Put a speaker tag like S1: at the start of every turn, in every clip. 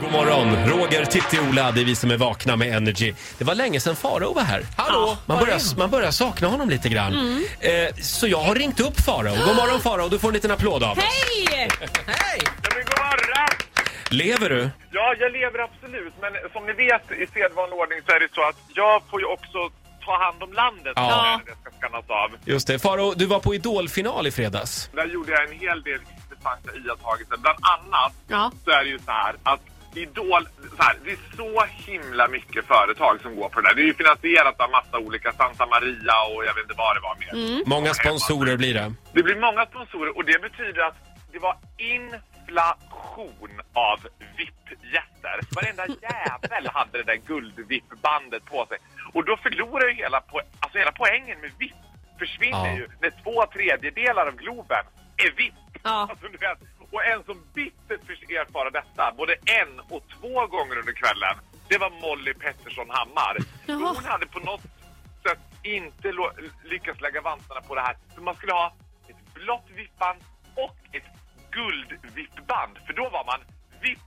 S1: God morgon! Roger, Titti, Ola, det är vi som är vakna med Energy. Det var länge sedan Farao var här.
S2: Hallå!
S1: Man börjar, man börjar sakna honom lite grann. Eh, så jag har ringt upp Farao. God morgon Farao, du får en liten applåd av oss.
S3: Hej!
S4: Ja, men god morgon!
S1: Lever du?
S4: Ja, jag lever absolut, men som ni vet i sedvanlig ordning så är det så att jag får ju också ta hand om landet
S1: Ja.
S4: när det ska skannas av.
S1: Just det. Farao, du var på Idolfinal i fredags.
S4: Där gjorde jag en hel del intressanta iakttagelser. Bland annat
S3: Ja.
S4: så är det ju så här att Idol, så här, det är så himla mycket företag som går på det där. Det är ju finansierat av massa olika, Santa Maria och jag vet inte vad det var mer.
S1: Många sponsorer blir det.
S4: Det blir många sponsorer och det betyder att det var inflation av VIP-gäster. Varenda jävel hade det där guld-VIP-bandet på sig. Och då förlorar ju hela, po- alltså hela poängen med VIP försvinner
S1: Ja.
S4: ju när två tredjedelar av Globen är VIP.
S3: Ja.
S4: Alltså, du vet, och en som bittert fick erfara detta både en och två gånger under kvällen, det var Molly Pettersson Hammar.
S3: Jaha.
S4: Hon hade på något sätt inte lo- lyckats lägga vantarna på det här. För man skulle ha ett blått vippband och ett guldvippband. För då var man vipp,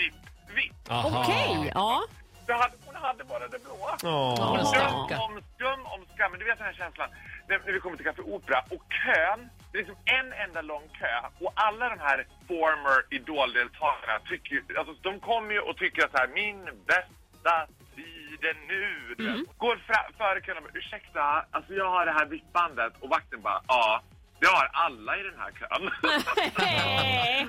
S4: vipp, vipp.
S1: Aha.
S3: Okej, ja.
S4: Det hade, hon hade bara det blåa.
S1: Åh.
S3: Ja.
S4: Skum
S3: Stackarn.
S4: om skum om skam. Men du vet den här känslan när, när vi kommer till Café Opera och kön, det är liksom en enda lång kö och alla de här former Idol-deltagarna tycker ju- alltså de kommer ju och tycker att så här, min bästa tid är nu. du vet.
S3: Mm.
S4: Går fra- före kön och bara, ursäkta, alltså jag har det här vippbandet och vakten bara, ja, det har alla i den här kön.
S3: Hej!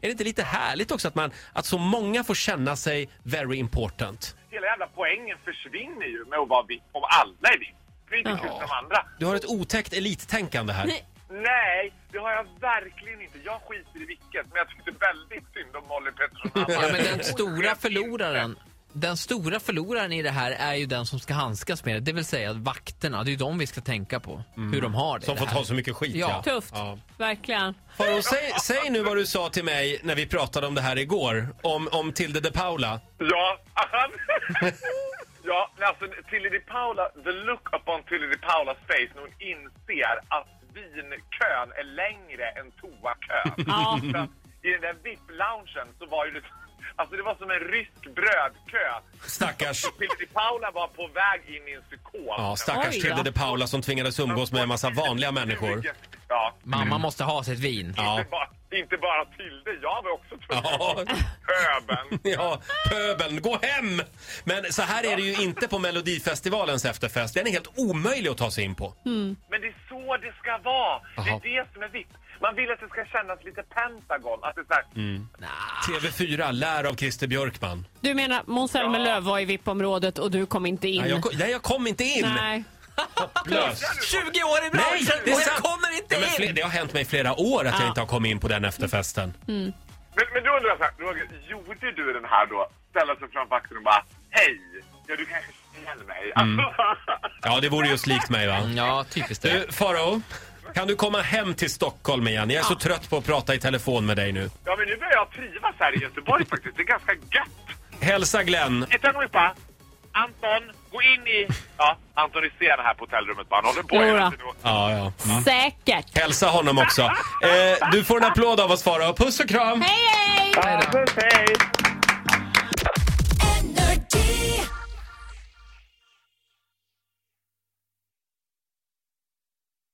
S1: Är det inte lite härligt också att, man, att så många får känna sig very important?
S4: Hela jävla poängen försvinner ju med att vara vipp om alla är vipp. Det är inte kul som andra.
S1: Du har ett otäckt elittänkande här.
S4: Nej, det har jag verkligen inte. Jag skiter i vilket, men jag tyckte väldigt synd om Molly Pettersson Hammar.
S2: Ja, men den stora förloraren. Den stora förloraren i det här är ju den som ska handskas med det, det vill säga vakterna. Det är ju de vi ska tänka på, hur de har
S1: Mm.
S2: det.
S1: Som
S2: det
S1: får
S2: här.
S1: ta så mycket skit.
S2: Ja.
S3: Tufft,
S1: Ja.
S3: verkligen.
S1: Farao, säg, säg nu vad du sa till mig när vi pratade om det här igår. Om, om Tilde de Paula.
S4: Ja, han... ja, men alltså Tilly Di Paula, the look upon Tilly Di Paulas face när hon inser att vinkön är längre än toakön.
S3: Ja.
S4: För att I den där VIP-loungen så var ju det... Alltså det var som en rysk brödkö.
S1: Stackars.
S4: Tilly Di Paula var på väg in i en psykos.
S1: Ja, stackars
S3: Oj,
S1: Tilde
S3: ja.
S1: de Paula som tvingades umgås med en massa vanliga människor.
S4: Ja.
S2: Mamma måste ha sitt vin.
S1: Mm. Ja.
S4: Inte, bara, inte bara till det, jag var också
S1: Ja.
S4: tvungen. Höben.
S1: Ja, pöbeln, gå hem! Men så här är det ju inte på Melodifestivalens efterfest. Den är helt omöjlig att ta sig in på.
S4: Men det är så det ska vara.
S1: Jaha.
S4: Det är det som är vitt. Man vill att det ska kännas lite Pentagon. Att det är så här,
S1: Mm. TV4, lär av Christer Björkman.
S3: Du menar Måns Zelmerlöw var i VIP-området och du kom inte in?
S1: Nej, jag kom, nej, jag kom inte in!
S3: Nej.
S1: Löst.
S2: 20 år i
S1: Nej,
S2: branschen
S1: det är
S2: och jag
S1: sant.
S2: kommer inte
S1: Ja, men fler-
S2: in!
S1: det har hänt mig i flera år att jag
S3: Ja.
S1: inte har kommit in på den efterfesten.
S4: men, men då undrar jag så här, Roger, gjorde du den här då? Ställa sig framför axeln och bara, hej, ja du kanske känner mig. Alltså,
S1: Mm. Ja, det vore just likt mig va?
S2: Ja, typiskt det.
S1: Du, Farao. Kan du komma hem till Stockholm igen? Jag är så trött på att prata i telefon med dig nu.
S4: ja men nu börjar jag trivas här i Göteborg faktiskt. Det är ganska gött.
S1: Hälsa Glenn.
S4: Ett ögonblick bara. Anton, gå in i... Ja, Anton Hysén här på hotellrummet bara. Han håller på
S3: Jodå.
S4: hela tiden och-
S1: Ja, ja.
S3: Säkert.
S1: Hälsa honom också. Eh, du får en applåd av oss Farao. Puss och kram!
S3: Hej, hej!
S4: Ja, puss, hej.